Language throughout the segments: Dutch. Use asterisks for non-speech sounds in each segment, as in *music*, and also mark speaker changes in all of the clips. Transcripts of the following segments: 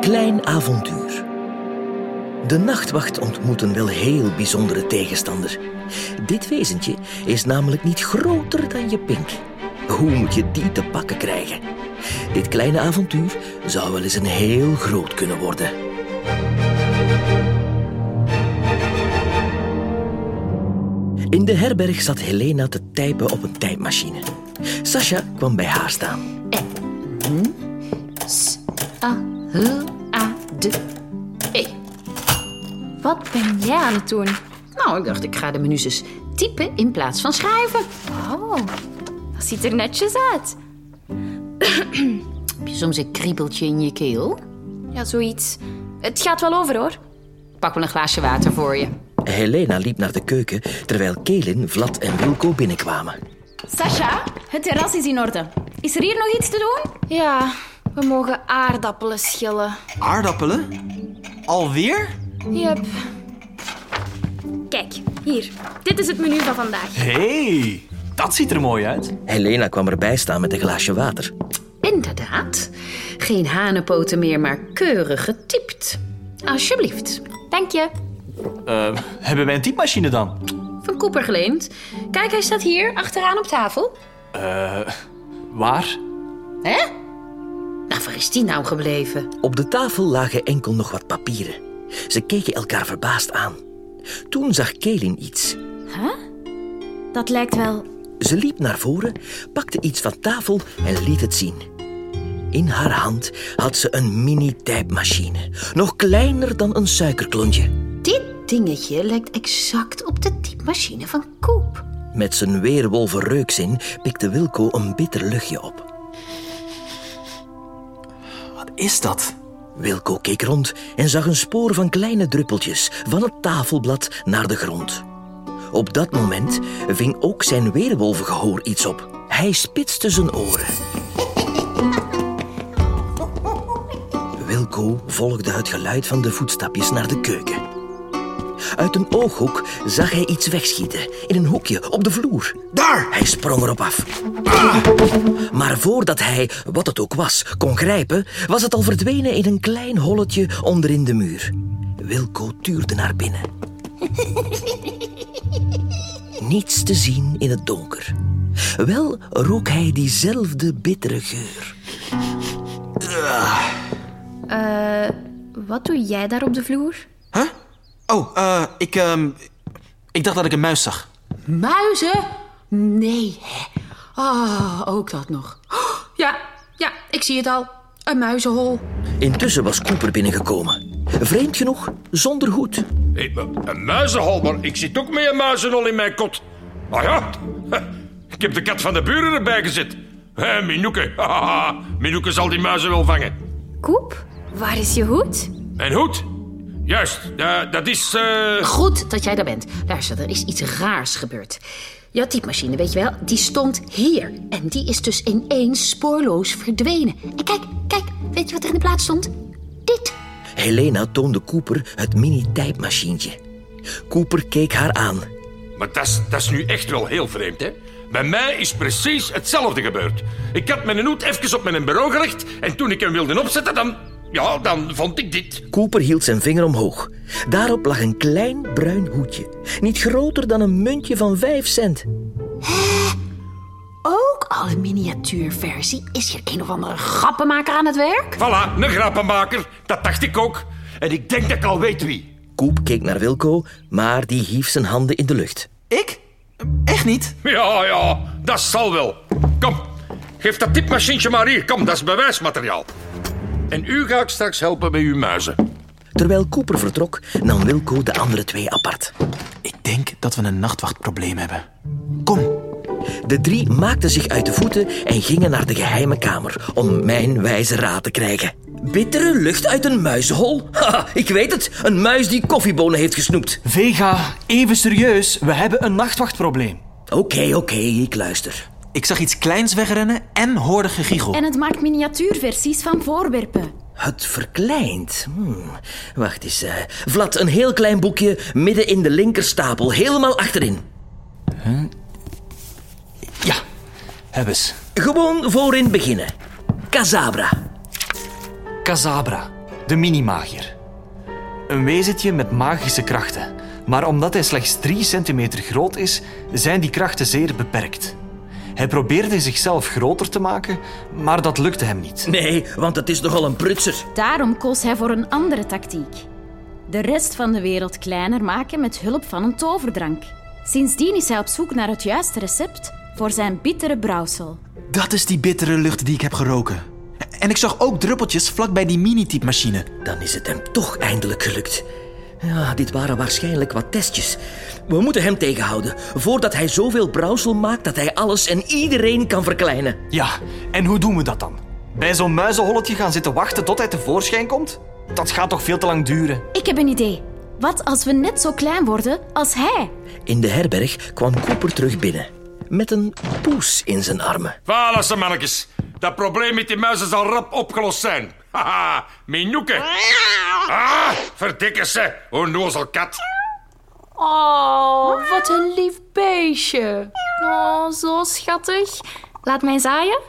Speaker 1: klein avontuur. De nachtwacht ontmoeten wel heel bijzondere tegenstander. Dit wezentje is namelijk niet groter dan je pink. Hoe moet je die te pakken krijgen? Dit kleine avontuur zou wel eens een heel groot kunnen worden. In de herberg zat Helena te typen op een tijdmachine. Sasha kwam bij haar staan.
Speaker 2: A, H, A, D, E. Ah, Wat ben jij aan het doen?
Speaker 3: Nou, ik dacht, ik ga de menus eens typen in plaats van schrijven.
Speaker 2: Oh, dat ziet er netjes uit.
Speaker 3: Heb je soms een kriebeltje in je keel?
Speaker 2: Ja, zoiets. Het gaat wel over hoor.
Speaker 3: Pak wel een glaasje water voor je.
Speaker 1: Helena liep naar de keuken terwijl Kelin, Vlad en Wilco binnenkwamen.
Speaker 4: Sasha, het terras is in orde. Is er hier nog iets te doen?
Speaker 2: Ja, we mogen aardappelen schillen.
Speaker 5: Aardappelen? Alweer?
Speaker 2: Yep.
Speaker 4: Kijk, hier. Dit is het menu van vandaag.
Speaker 5: Hé, hey, dat ziet er mooi uit.
Speaker 1: Helena kwam erbij staan met een glaasje water.
Speaker 3: Inderdaad. Geen hanenpoten meer, maar keurig getypt. Alsjeblieft.
Speaker 2: Dank je.
Speaker 5: Eh, hebben wij een typemachine dan?
Speaker 3: Van Cooper geleend. Kijk, hij staat hier, achteraan op tafel.
Speaker 5: Eh, waar?
Speaker 3: Hè? Nou, waar is die nou gebleven?
Speaker 1: Op de tafel lagen enkel nog wat papieren. Ze keken elkaar verbaasd aan. Toen zag Kelin iets.
Speaker 4: Dat lijkt wel.
Speaker 1: Ze liep naar voren, pakte iets van tafel en liet het zien. In haar hand had ze een mini-typmachine, nog kleiner dan een suikerklontje.
Speaker 3: Dit dingetje lijkt exact op de typemachine van Koop.
Speaker 1: Met zijn weerwolvenreukzin pikte Wilco een bitter luchtje op.
Speaker 5: Wat is dat?
Speaker 1: Wilco keek rond en zag een spoor van kleine druppeltjes van het tafelblad naar de grond. Op dat moment ving ook zijn weerwolvengehoor iets op. Hij spitste zijn oren. Wilco volgde het geluid van de voetstapjes naar de keuken. Uit een ooghoek zag hij iets wegschieten in een hoekje op de vloer.
Speaker 5: Daar!
Speaker 1: Hij sprong erop af. Maar voordat hij, wat het ook was, kon grijpen, was het al verdwenen in een klein holletje onderin de muur. Wilco tuurde naar binnen. *laughs* Niets te zien in het donker. Wel rook hij diezelfde bittere geur.
Speaker 2: Wat doe jij daar op de vloer?
Speaker 5: Huh? Oh, eh, ik, ehm, ik dacht dat ik een muis zag.
Speaker 3: Muizen? Nee, hè? Ah, ook dat nog. Oh, ja, ja, ik zie het al. Een muizenhol.
Speaker 1: Intussen was Cooper binnengekomen. Vreemd genoeg, zonder hoed.
Speaker 6: Hey, maar een muizenhol, maar ik zit ook met een muizenhol in mijn kot. Ah ja, ik heb de kat van de buren erbij gezet. Hé, *laughs* Minoeke, hahaha. Minoeke zal die muizen wel vangen.
Speaker 2: Koep, waar is je hoed?
Speaker 6: En hoed? Juist, eh, dat is... eh,
Speaker 3: Goed dat jij daar bent. Luister, er is iets raars gebeurd. Jouw typemachine, weet je wel, die stond hier. En die is dus ineens spoorloos verdwenen. En kijk, kijk, weet je wat er in de plaats stond? Dit.
Speaker 1: Helena toonde Cooper het mini-tijdmachientje. Cooper keek haar aan.
Speaker 6: Maar dat is, dat is nu echt wel heel vreemd, hè? Bij mij is precies hetzelfde gebeurd. Ik had mijn hoed even op mijn bureau gelegd en toen ik hem wilde opzetten, dan... Ja, dan vond ik dit.
Speaker 1: Cooper hield zijn vinger omhoog. Daarop lag een klein bruin hoedje. Niet groter dan een muntje van 5 cent.
Speaker 3: Ook al een miniatuurversie. Is hier een of andere grappenmaker aan het werk?
Speaker 6: Voilà, een grappenmaker. Dat dacht ik ook. En ik denk dat ik al weet wie.
Speaker 1: Koep keek naar Wilco, maar die hief zijn handen in de lucht.
Speaker 5: Ik? Echt niet?
Speaker 6: Ja, ja, dat zal wel. Kom, geef dat tipmachientje maar hier. Kom, dat is bewijsmateriaal. En u ga ik straks helpen met uw muizen.
Speaker 1: Terwijl Cooper vertrok, nam Wilco de andere twee apart.
Speaker 5: Ik denk dat we een nachtwachtprobleem hebben. Kom,
Speaker 1: De drie maakten zich uit de voeten en gingen naar de geheime kamer om mijn wijze raad te krijgen. Bittere lucht uit een muizenhol? *laughs* Haha, ik weet het, een muis die koffiebonen heeft gesnoept.
Speaker 7: Vega, even serieus. We hebben een nachtwachtprobleem.
Speaker 1: Oké, oké, ik luister.
Speaker 5: ik zag iets kleins wegrennen en hoorde gegiegel.
Speaker 4: En het maakt miniatuurversies van voorwerpen.
Speaker 1: Het verkleint. Hmm, Wacht eens. eh, Vlad, een heel klein boekje midden in de linkerstapel, helemaal achterin.
Speaker 7: Ja, hebben ze.
Speaker 1: Gewoon voorin beginnen. Casabra.
Speaker 7: Casabra. de minimagier. Een wezentje met magische krachten. Maar omdat hij slechts 3 centimeter groot is, zijn die krachten zeer beperkt. Hij probeerde zichzelf groter te maken, maar dat lukte hem niet.
Speaker 1: Nee, want het is nogal een prutser.
Speaker 4: Daarom koos hij voor een andere tactiek. De rest van de wereld kleiner maken met hulp van een toverdrank. Sindsdien is hij op zoek naar het juiste recept voor zijn bittere brouwsel.
Speaker 5: Dat is die bittere lucht die ik heb geroken. En ik zag ook druppeltjes vlak bij die mini-typemachine.
Speaker 1: Dan is het hem toch eindelijk gelukt. Ja, dit waren waarschijnlijk wat testjes. We moeten hem tegenhouden voordat hij zoveel brouwsel maakt dat hij alles en iedereen kan verkleinen.
Speaker 7: Ja, en hoe doen we dat dan? Bij zo'n muizenholletje gaan zitten wachten tot hij tevoorschijn komt? Dat gaat toch veel te lang duren?
Speaker 4: Ik heb een idee. Wat als we net zo klein worden als hij?
Speaker 1: In de herberg kwam Cooper terug binnen met een poes in zijn armen.
Speaker 6: Voilà, mannetjes. Dat probleem met die muizen zal rap opgelost zijn. *laughs* Haha, minoeken. Ah, verdikken ze, onnozel kat.
Speaker 2: Oh, wat een lief beestje. Oh, zo schattig. Laat mij zaaien.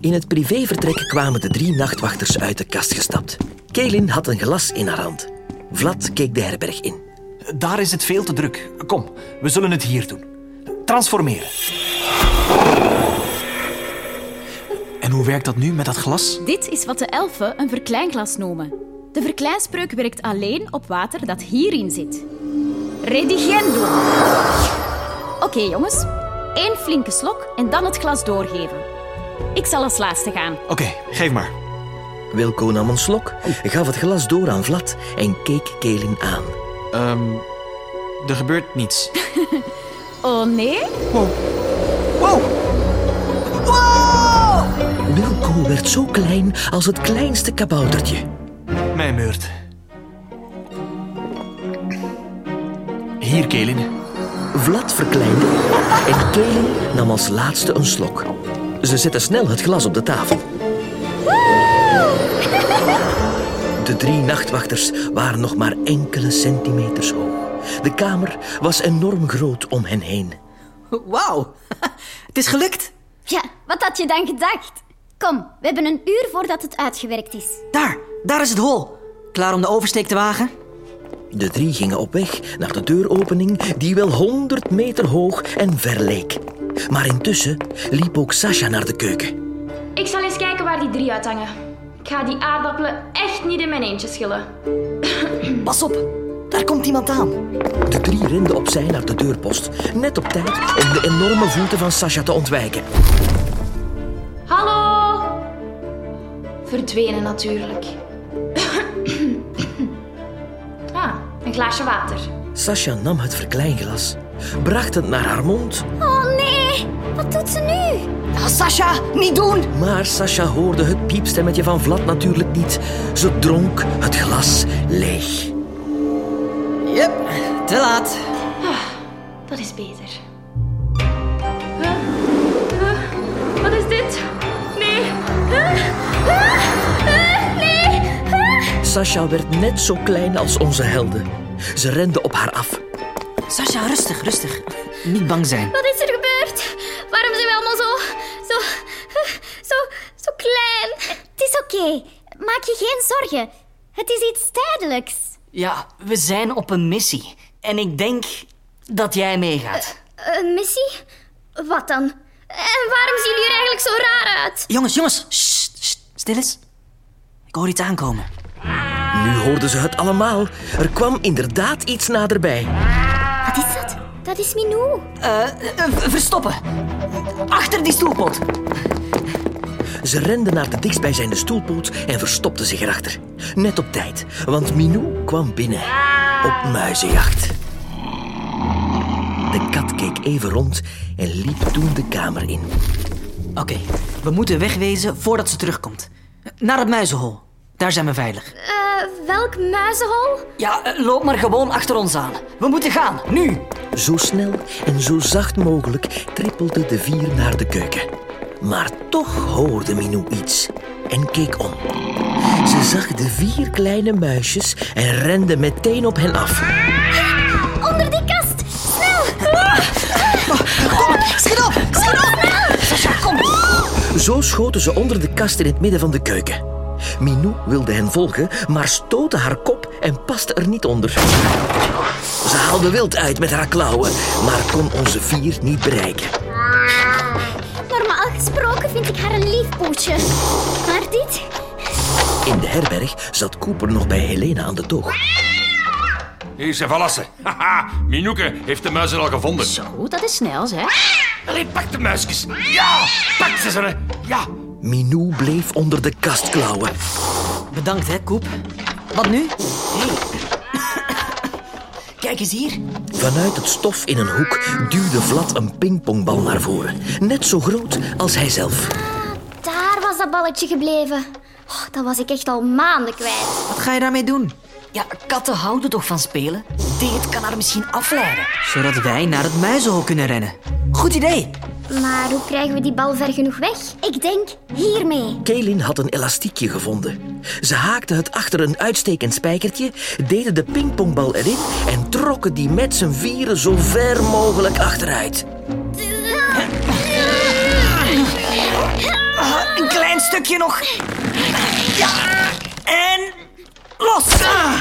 Speaker 1: In het privévertrek kwamen de drie nachtwachters uit de kast gestapt. Kaelin had een glas in haar hand. Vlad keek de herberg in.
Speaker 7: Daar is het veel te druk. Kom, we zullen het hier doen. Transformeren.
Speaker 5: En hoe werkt dat nu met dat glas?
Speaker 4: Dit is wat de elfen een verkleinglas noemen. De verkleinspreuk werkt alleen op water dat hierin zit. Redigendo. Oké jongens, één flinke slok en dan het glas doorgeven. Ik zal als laatste gaan.
Speaker 5: Oké, geef maar.
Speaker 1: Wilco nam een slok, gaf het glas door aan Vlad en keek Kaelin aan.
Speaker 5: Ehm, er gebeurt niets.
Speaker 4: Oh nee?
Speaker 1: Wilco werd zo klein als het kleinste kaboutertje.
Speaker 7: Mijn beurt. Hier, Kelin.
Speaker 1: Vlad verkleinde en Kaelin nam als laatste een slok. Ze zette snel het glas op de tafel. De drie nachtwachters waren nog maar enkele centimeters hoog. De kamer was enorm groot om hen heen.
Speaker 8: Wauw, *laughs* het is gelukt.
Speaker 9: Ja, wat had je dan gedacht? Kom, we hebben een uur voordat het uitgewerkt is.
Speaker 8: Daar, daar is het hol. Klaar om de oversteek te wagen?
Speaker 1: De drie gingen op weg naar de deuropening die wel 100 meter hoog en ver leek. Maar intussen liep ook Sasha naar de keuken.
Speaker 10: Ik zal eens kijken waar die drie uithangen. Ik ga die aardappelen echt niet in mijn eentje schillen.
Speaker 8: Pas op, daar komt iemand aan.
Speaker 1: De drie renden opzij naar de deurpost, net op tijd om de enorme voeten van Sasha te ontwijken.
Speaker 10: Hallo! Verdwenen natuurlijk. *coughs* ah, een glaasje water.
Speaker 1: Sasha nam het verkleinglas, bracht het naar haar mond,
Speaker 9: Oh nee, wat doet ze nu?
Speaker 8: Ah, Sasha, niet doen.
Speaker 1: maar Sasha hoorde het piepstemmetje van Vlad natuurlijk niet. Ze dronk het glas leeg.
Speaker 8: Yep, te laat.
Speaker 10: Dat is beter. Huh? Huh? Wat is dit? Nee. Huh?
Speaker 1: Sasha werd net zo klein als onze helden. Ze rende op haar af.
Speaker 8: Sasha, rustig, rustig. Niet bang zijn.
Speaker 9: Wat is er gebeurd? Waarom zijn we allemaal zo. zo. zo. zo klein? Het is oké. Maak je geen zorgen. Het is iets tijdelijks.
Speaker 8: Ja, we zijn op een missie. En ik denk dat jij meegaat.
Speaker 9: Eh, Een missie? Wat dan? En waarom zien jullie er eigenlijk zo raar uit?
Speaker 8: Jongens, jongens, sst, sst, stil eens. Ik hoor iets aankomen.
Speaker 1: Nu hoorden ze het allemaal. Er kwam inderdaad iets naderbij.
Speaker 9: Wat is dat? Dat is Minou.
Speaker 8: Eh, v- verstoppen. Achter die stoelpot.
Speaker 1: Ze rende naar de dichtstbijzijnde stoelpoot en verstopte zich erachter. Net op tijd, want Minou kwam binnen. Op muizenjacht. De kat keek even rond en liep toen de kamer in.
Speaker 8: Oké, we moeten wegwezen voordat ze terugkomt. Naar het muizenhol. Daar zijn we veilig.
Speaker 9: Eh, welk muizenhol?
Speaker 8: Ja, eh, loop maar gewoon achter ons aan. We moeten gaan, nu.
Speaker 1: Zo snel en zo zacht mogelijk trippelden de vier naar de keuken. Maar toch hoorde Minou iets en keek om. Ze zag de vier kleine muisjes en rende meteen op hen af.
Speaker 9: Ah, Onder die kast. Snel.
Speaker 1: Ah.
Speaker 8: Schiet op, schiet op. Sascha, kom.
Speaker 1: Zo schoten ze onder de kast in het midden van de keuken. Minou wilde hen volgen, maar stootte haar kop en paste er niet onder. Ze haalde wild uit met haar klauwen, maar kon onze vier niet bereiken.
Speaker 9: Normaal gesproken vind ik haar een lief poesje. Maar dit...
Speaker 1: In de herberg zat Cooper nog bij Helena aan de toog.
Speaker 6: Hier zijn valassen. *laughs* Haha, Minouke heeft de muizen al gevonden.
Speaker 3: Zo, dat is snel, zeg.
Speaker 6: Allee, pak de muisjes. Ja, pak ze, hè. Ja.
Speaker 1: Minou bleef onder de kast klauwen.
Speaker 8: Bedankt, hè, Koep. Wat nu? *laughs*
Speaker 11: Kijk eens hier.
Speaker 1: Vanuit het stof in een hoek duwde Vlad een pingpongbal naar voren. Net zo groot als hij zelf.
Speaker 9: Daar was dat balletje gebleven. Oh, dat was ik echt al maanden kwijt.
Speaker 8: Wat ga je daarmee doen?
Speaker 11: Ja, katten houden toch van spelen? Dit kan haar misschien afleiden.
Speaker 8: Zodat wij naar het muizenhol kunnen rennen. Goed idee.
Speaker 9: Maar hoe krijgen we die bal ver genoeg weg? Ik denk hiermee.
Speaker 1: Kaelin had een elastiekje gevonden. Ze haakte het achter een uitstekend spijkertje, deden de pingpongbal erin en trokken die met z'n vieren zo ver mogelijk achteruit.
Speaker 11: Ah, een klein stukje nog. Ja, en los. Ah,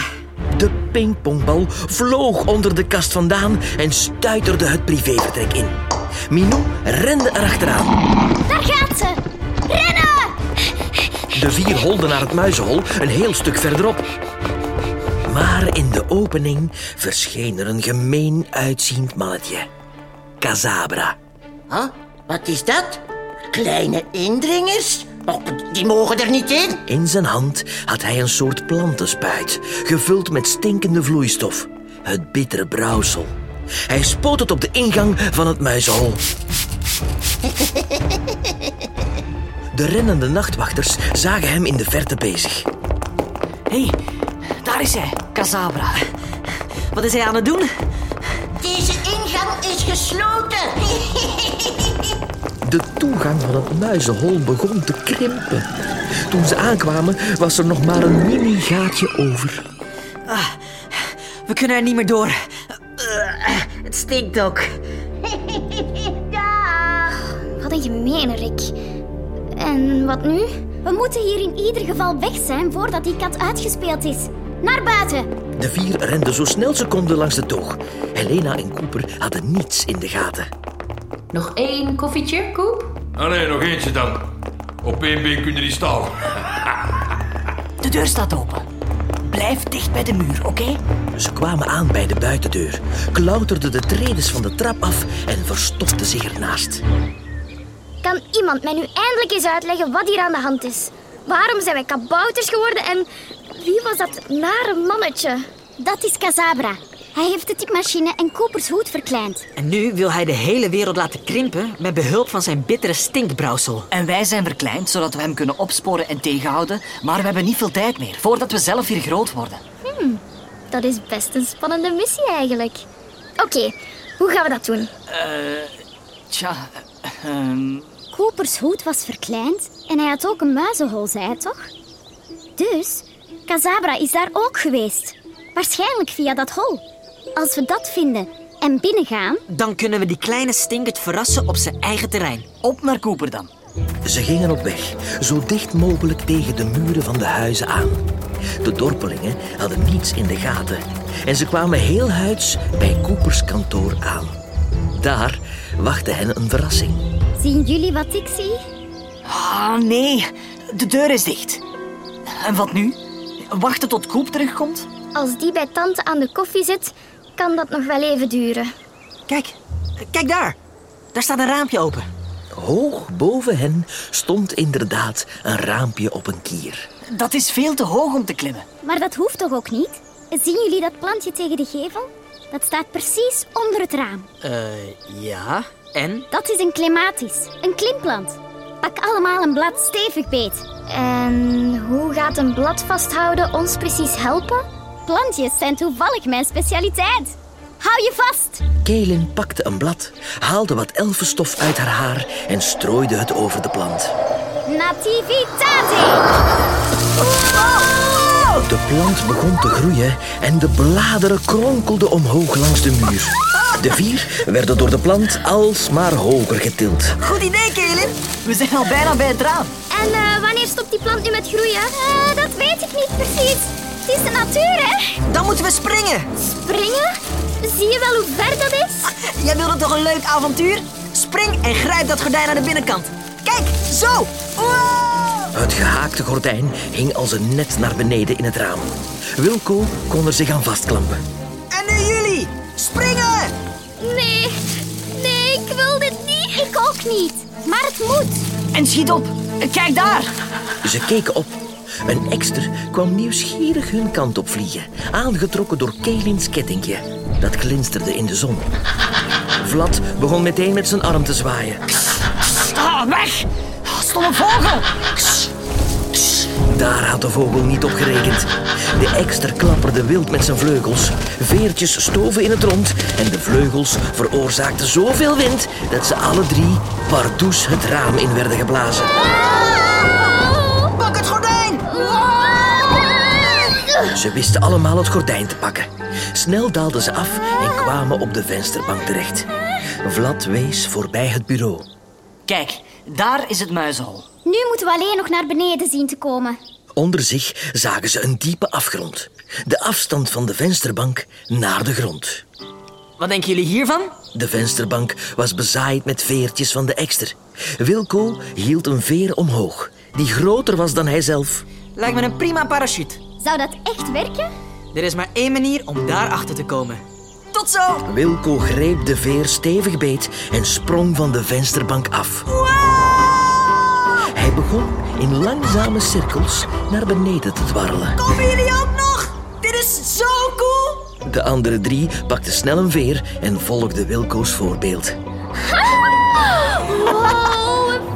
Speaker 1: De pingpongbal vloog onder de kast vandaan en stuiterde het privévertrek in. Minou rende erachteraan.
Speaker 9: Daar gaat ze. Rennen!
Speaker 1: De vier holden naar het muizenhol, een heel stuk verderop. Maar in de opening verscheen er een gemeen uitziend mannetje. Kazabra.
Speaker 12: Huh? Wat is dat? Kleine indringers? Och, die mogen er niet in.
Speaker 1: In zijn hand had hij een soort plantenspuit, gevuld met stinkende vloeistof. Het bittere brouwsel. Hij spoot het op de ingang van het muizenhol. De rennende nachtwachters zagen hem in de verte bezig.
Speaker 11: Hé, daar is hij, Kazabra.
Speaker 8: Wat is hij aan het doen?
Speaker 12: Deze ingang is gesloten. *laughs*
Speaker 1: De toegang van het muizenhol begon te krimpen. Toen ze aankwamen was er nog maar een mini-gaatje over.
Speaker 8: We kunnen er niet meer door.
Speaker 12: Het stinkt ook.
Speaker 9: Dag. Wat een gemene Rick. En wat nu? We moeten hier in ieder geval weg zijn voordat die kat uitgespeeld is. Naar buiten.
Speaker 1: De vier renden zo snel ze konden langs de toog. Helena en Cooper hadden niets in de gaten.
Speaker 3: Nog één koffietje, Koep?
Speaker 6: Allee, nog eentje dan. Op één been kun je niet staan.
Speaker 11: De deur staat open. Blijf dicht bij de muur, oké?
Speaker 1: Ze kwamen aan bij de buitendeur, klauterden de tredes van de trap af en verstopten zich ernaast.
Speaker 9: Kan iemand mij nu eindelijk eens uitleggen wat hier aan de hand is? Waarom zijn wij kabouters geworden en wie was dat nare mannetje? Dat is Kazabra. Hij heeft de typmachine en Coopers hoed verkleind.
Speaker 8: En nu wil hij de hele wereld laten krimpen met behulp van zijn bittere stinkbrouwsel.
Speaker 11: En wij zijn verkleind, zodat we hem kunnen opsporen en tegenhouden. Maar we hebben niet veel tijd meer, voordat we zelf hier groot worden.
Speaker 9: Dat is best een spannende missie eigenlijk. Oké, hoe gaan we dat doen?
Speaker 11: Tja, ehm,
Speaker 9: Coopers hoed was verkleind en hij had ook een muizenhol, zei hij toch? Dus, Kazabra is daar ook geweest. Waarschijnlijk via dat hol. Als we dat vinden en binnengaan,
Speaker 8: Dan kunnen we die kleine stinkert verrassen op zijn eigen terrein.
Speaker 11: op naar Cooper dan.
Speaker 1: Ze gingen op weg, zo dicht mogelijk tegen de muren van de huizen aan. De dorpelingen hadden niets in de gaten en ze kwamen heel huids bij Coopers kantoor aan. Daar wachtte hen een verrassing.
Speaker 9: zien jullie wat ik zie?
Speaker 11: Ah, nee. De deur is dicht. En wat nu? Wachten tot Koep terugkomt?
Speaker 9: Als die bij tante aan de koffie zit, kan dat nog wel even duren.
Speaker 8: Kijk, kijk daar. Daar staat een raampje open.
Speaker 1: Hoog boven hen stond inderdaad een raampje op een kier.
Speaker 11: Dat is veel te hoog om te klimmen.
Speaker 9: Maar dat hoeft toch ook niet? Zien jullie dat plantje tegen de gevel? Dat staat precies onder het raam.
Speaker 8: Eh, ja. En?
Speaker 9: Dat is een clematis, een klimplant. Pak allemaal een blad stevig beet. En hoe gaat een blad vasthouden ons precies helpen? Plantjes zijn toevallig mijn specialiteit. Hou je vast!
Speaker 1: Kaelin pakte een blad, haalde wat elfenstof uit haar haar en strooide het over de plant.
Speaker 9: Nativitate!
Speaker 1: De plant begon te groeien en de bladeren kronkelden omhoog langs de muur. De vier werden door de plant alsmaar hoger getild.
Speaker 11: Goed idee, Kaelin. We zijn al bijna bij het raam.
Speaker 9: En eh, wanneer stopt die plant nu met groeien? Eh, dat weet ik niet precies. Het is de natuur, hè?
Speaker 11: Dan moeten we springen.
Speaker 9: Springen? Zie je wel hoe ver dat is?
Speaker 11: Jij wilde toch een leuk avontuur? Spring en grijp dat gordijn aan de binnenkant. Kijk, zo.
Speaker 1: Het gehaakte gordijn hing als een net naar beneden in het raam. Wilco kon er zich aan vastklampen.
Speaker 11: En nu jullie. Springen!
Speaker 9: Nee, nee, ik wil dit niet. Ik ook niet. Maar het moet.
Speaker 11: En schiet op. Kijk daar.
Speaker 1: Ze keken op. Een ekster kwam nieuwsgierig hun kant op vliegen, aangetrokken door Kelins kettingje. Dat glinsterde in de zon. Vlad begon meteen met zijn arm te zwaaien.
Speaker 11: Sta weg. Stomme vogel.
Speaker 1: Daar had de vogel niet op gerekend. De ekster klapperde wild met zijn vleugels. Veertjes stoven in het rond en de vleugels veroorzaakten zoveel wind dat ze alle drie pardoes het raam in werden geblazen.
Speaker 11: Pak het gordijn.
Speaker 1: Ze wisten allemaal het gordijn te pakken. Snel daalden ze af en kwamen op de vensterbank terecht. Vlad wees voorbij het bureau.
Speaker 11: Kijk, daar is het muizenhol.
Speaker 9: Nu moeten we alleen nog naar beneden zien te komen.
Speaker 1: Onder zich zagen ze een diepe afgrond. De afstand van de vensterbank naar de grond.
Speaker 11: Wat denken jullie hiervan?
Speaker 1: De vensterbank was bezaaid met veertjes van de ekster. Wilco hield een veer omhoog, die groter was dan hij zelf.
Speaker 8: Lijkt me een prima parachute.
Speaker 9: Zou dat echt werken?
Speaker 8: Er is maar één manier om daarachter te komen.
Speaker 11: Tot zo.
Speaker 1: Wilco greep de veer stevig beet en sprong van de vensterbank af. Hij begon in langzame cirkels naar beneden te dwarrelen.
Speaker 11: Komen jullie ook nog? Dit is zo cool.
Speaker 1: De andere drie pakten snel een veer en volgden Wilco's voorbeeld.
Speaker 9: Wow,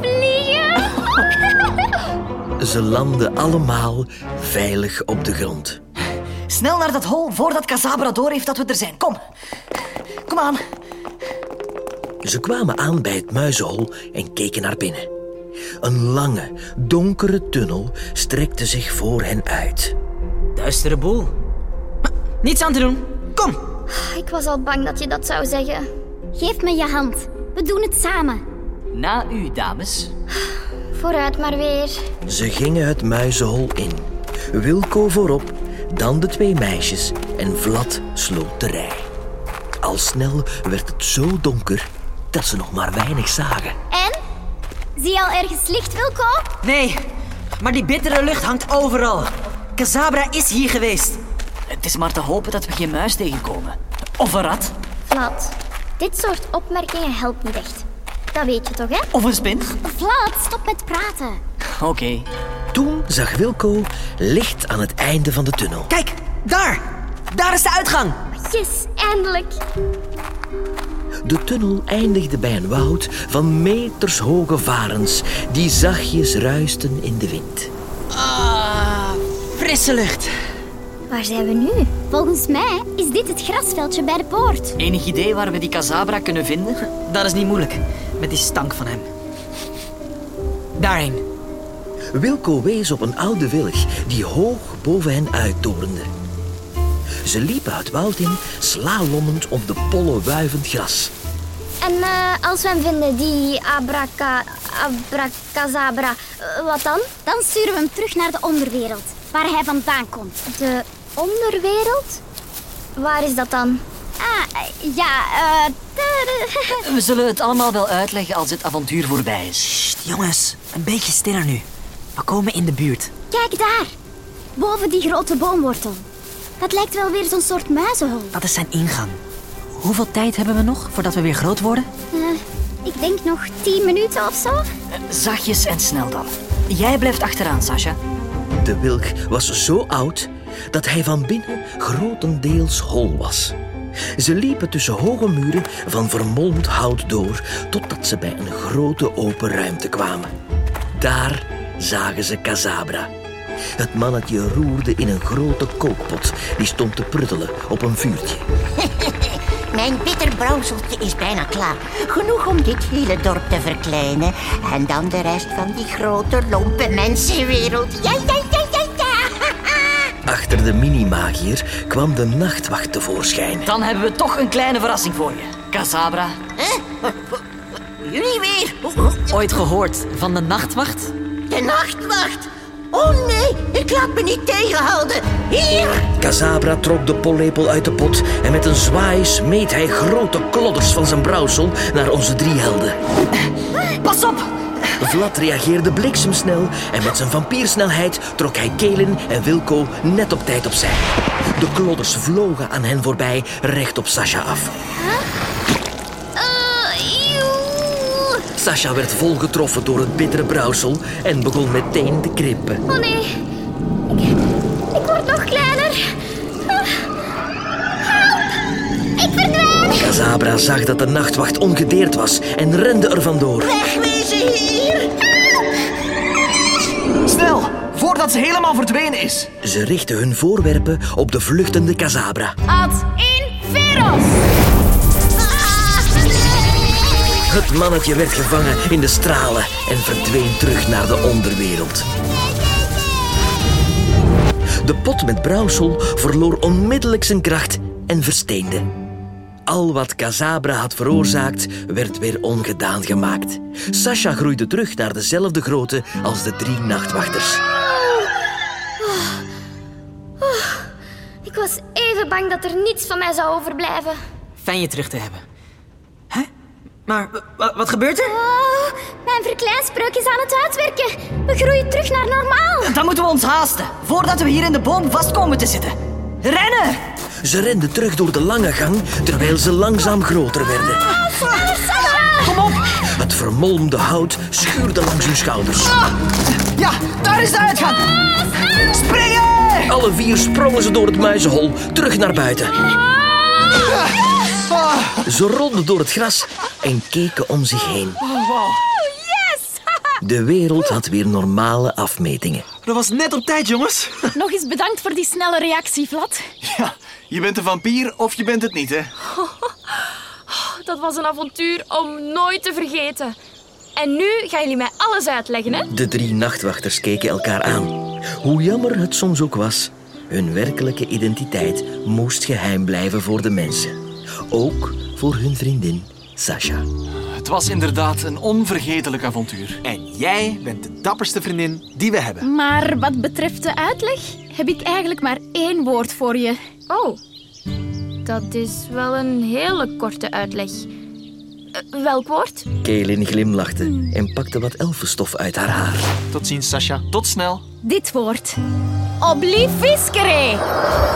Speaker 9: we vliegen!
Speaker 1: Ze landden allemaal veilig op de grond.
Speaker 11: Snel naar dat hol voordat Casabra door heeft dat we er zijn. Kom. Kom aan.
Speaker 1: Ze kwamen aan bij het muizenhol en keken naar binnen. Een lange, donkere tunnel strekte zich voor hen uit.
Speaker 8: Duistere boel. Maar niets aan te doen. Kom.
Speaker 9: Ah, Ik was al bang dat je dat zou zeggen. Geef me je hand. We doen het samen.
Speaker 11: Na u, dames.
Speaker 9: Vooruit maar weer.
Speaker 1: Ze gingen het muizenhol in. Wilco voorop, dan de twee meisjes en Vlad sloot de rij. Al snel werd het zo donker dat ze nog maar weinig zagen.
Speaker 9: En? Zie je al ergens licht, Wilco?
Speaker 8: Nee, maar die bittere lucht hangt overal. Casabra is hier geweest.
Speaker 11: Het is maar te hopen dat we geen muis tegenkomen. Of een rat.
Speaker 9: Vlad, dit soort opmerkingen helpt niet echt. Dat weet je toch, hè?
Speaker 11: Of een spin.
Speaker 9: Oh. Vlad, stop met praten.
Speaker 11: Oké.
Speaker 1: Toen zag Wilco licht aan het einde van de tunnel.
Speaker 8: Kijk, daar. Daar is de uitgang.
Speaker 9: Yes, eindelijk.
Speaker 1: De tunnel eindigde bij een woud van metershoge varens die zachtjes ruisten in de wind.
Speaker 8: Frisse lucht.
Speaker 9: Waar zijn we nu? Volgens mij is dit het grasveldje bij de poort.
Speaker 11: Enig idee waar we die Casabra kunnen vinden?
Speaker 8: Dat is niet moeilijk. Met die stank van hem. Daarheen.
Speaker 1: Wilco wees op een oude wilg die hoog boven hen uittorende. Ze liepen het woud in, slalommend op de pollen wuivend gras.
Speaker 9: En eh, als we hem vinden, die abraca... abracazabra, eh, wat dan?
Speaker 13: Dan sturen we hem terug naar de onderwereld, waar hij vandaan komt.
Speaker 9: De onderwereld? Waar is dat dan?
Speaker 13: Ah, eh, ja, eh, daar- eh,
Speaker 11: We zullen het allemaal wel uitleggen als dit avontuur voorbij is.
Speaker 8: Sst, jongens. Een beetje stiller nu. We komen in de buurt.
Speaker 13: *laughs* Kijk daar, boven die grote boomwortel. Dat lijkt wel weer zo'n soort muizenhol.
Speaker 8: Dat is zijn ingang. Hoeveel tijd hebben we nog voordat we weer groot worden?
Speaker 13: Eh, ik denk nog tien minuten of zo.
Speaker 11: Zachtjes en snel dan. Jij blijft achteraan, Sasha.
Speaker 1: De wilg was zo oud dat hij van binnen grotendeels hol was. Ze liepen tussen hoge muren van vermolmd hout door totdat ze bij een grote open ruimte kwamen. Daar zagen ze Casabra. Het mannetje roerde in een grote kookpot die stond te pruttelen op een vuurtje.
Speaker 12: Mijn bitterbrouwseltje is bijna klaar. Genoeg om dit hele dorp te verkleinen. En dan de rest van die grote, lompe mensenwereld. Ja, ja, ja, ja, ja.
Speaker 1: Achter de mini-magier kwam de nachtwacht tevoorschijn.
Speaker 11: Dan hebben we toch een kleine verrassing voor je. Casabra.
Speaker 12: Jullie weer?
Speaker 8: Ooit gehoord van de nachtwacht?
Speaker 12: De nachtwacht? Oh nee, ik laat me niet tegenhouden. Hier!
Speaker 1: Kazabra trok de pollepel uit de pot en met een zwaai smeet hij grote klodders van zijn brouwsel naar onze drie helden.
Speaker 11: Pas op!
Speaker 1: Vlad reageerde bliksemsnel en met zijn vampiersnelheid trok hij Kelen en Wilco net op tijd opzij. De klodders vlogen aan hen voorbij, recht op Sasha af.
Speaker 9: Eh,
Speaker 1: Sasha werd volgetroffen door het bittere brouwsel en begon meteen te krimpen.
Speaker 9: Oh nee, ik, ik word nog kleiner. Ah. Help! Ik verdwijn!
Speaker 1: Kazabra zag dat de nachtwacht ongedeerd was en rende er vandoor.
Speaker 12: Wegwezen hier!
Speaker 11: Snel, voordat ze helemaal verdwenen is.
Speaker 1: Ze richtten hun voorwerpen op de vluchtende Kazabra.
Speaker 4: Ad inferos!
Speaker 1: Het mannetje werd gevangen in de stralen en verdween terug naar de onderwereld. De pot met brouwsel verloor onmiddellijk zijn kracht en versteende. Al wat Kazabra had veroorzaakt, werd weer ongedaan gemaakt. Sasha groeide terug naar dezelfde grootte als de drie nachtwachters.
Speaker 9: Ik was even bang dat er niets van mij zou overblijven.
Speaker 8: Fijn je terug te hebben. Hè? Maar wa- wa- wat gebeurt er?
Speaker 9: Oh, mijn verkleinspreuk is aan het uitwerken. We groeien terug naar normaal.
Speaker 11: Dan moeten we ons haasten, voordat we hier in de boom vast komen te zitten. Rennen!
Speaker 1: Ze renden terug door de lange gang, terwijl ze langzaam groter werden.
Speaker 9: Ah,
Speaker 11: Kom op!
Speaker 1: Het vermolmde hout schuurde langs hun schouders.
Speaker 11: Ja, daar is de uitgang! Springen!
Speaker 1: Alle vier sprongen ze door het muizenhol terug naar buiten. Ze rolden door het gras en keken om zich heen. De wereld had weer normale afmetingen.
Speaker 5: Dat was net op tijd, jongens.
Speaker 4: Nog eens bedankt voor die snelle reactie, Vlad.
Speaker 5: Ja, je bent een vampier of je bent het niet, hè?
Speaker 10: Dat was een avontuur om nooit te vergeten. En nu gaan jullie mij alles uitleggen, hè?
Speaker 1: De drie nachtwachters keken elkaar aan. Hoe jammer het soms ook was, hun werkelijke identiteit moest geheim blijven voor de mensen. Ook voor hun vriendin Sasha.
Speaker 7: Het was inderdaad een onvergetelijk avontuur.
Speaker 5: En jij bent de dapperste vriendin die we hebben.
Speaker 4: Maar wat betreft de uitleg heb ik eigenlijk maar één woord voor je.
Speaker 10: Oh, dat is wel een hele korte uitleg. Eh, welk woord?
Speaker 1: Kaelin glimlachte en pakte wat elfenstof uit haar haar.
Speaker 7: Tot ziens, Sasha. Tot snel.
Speaker 4: Dit woord. Obliviscere.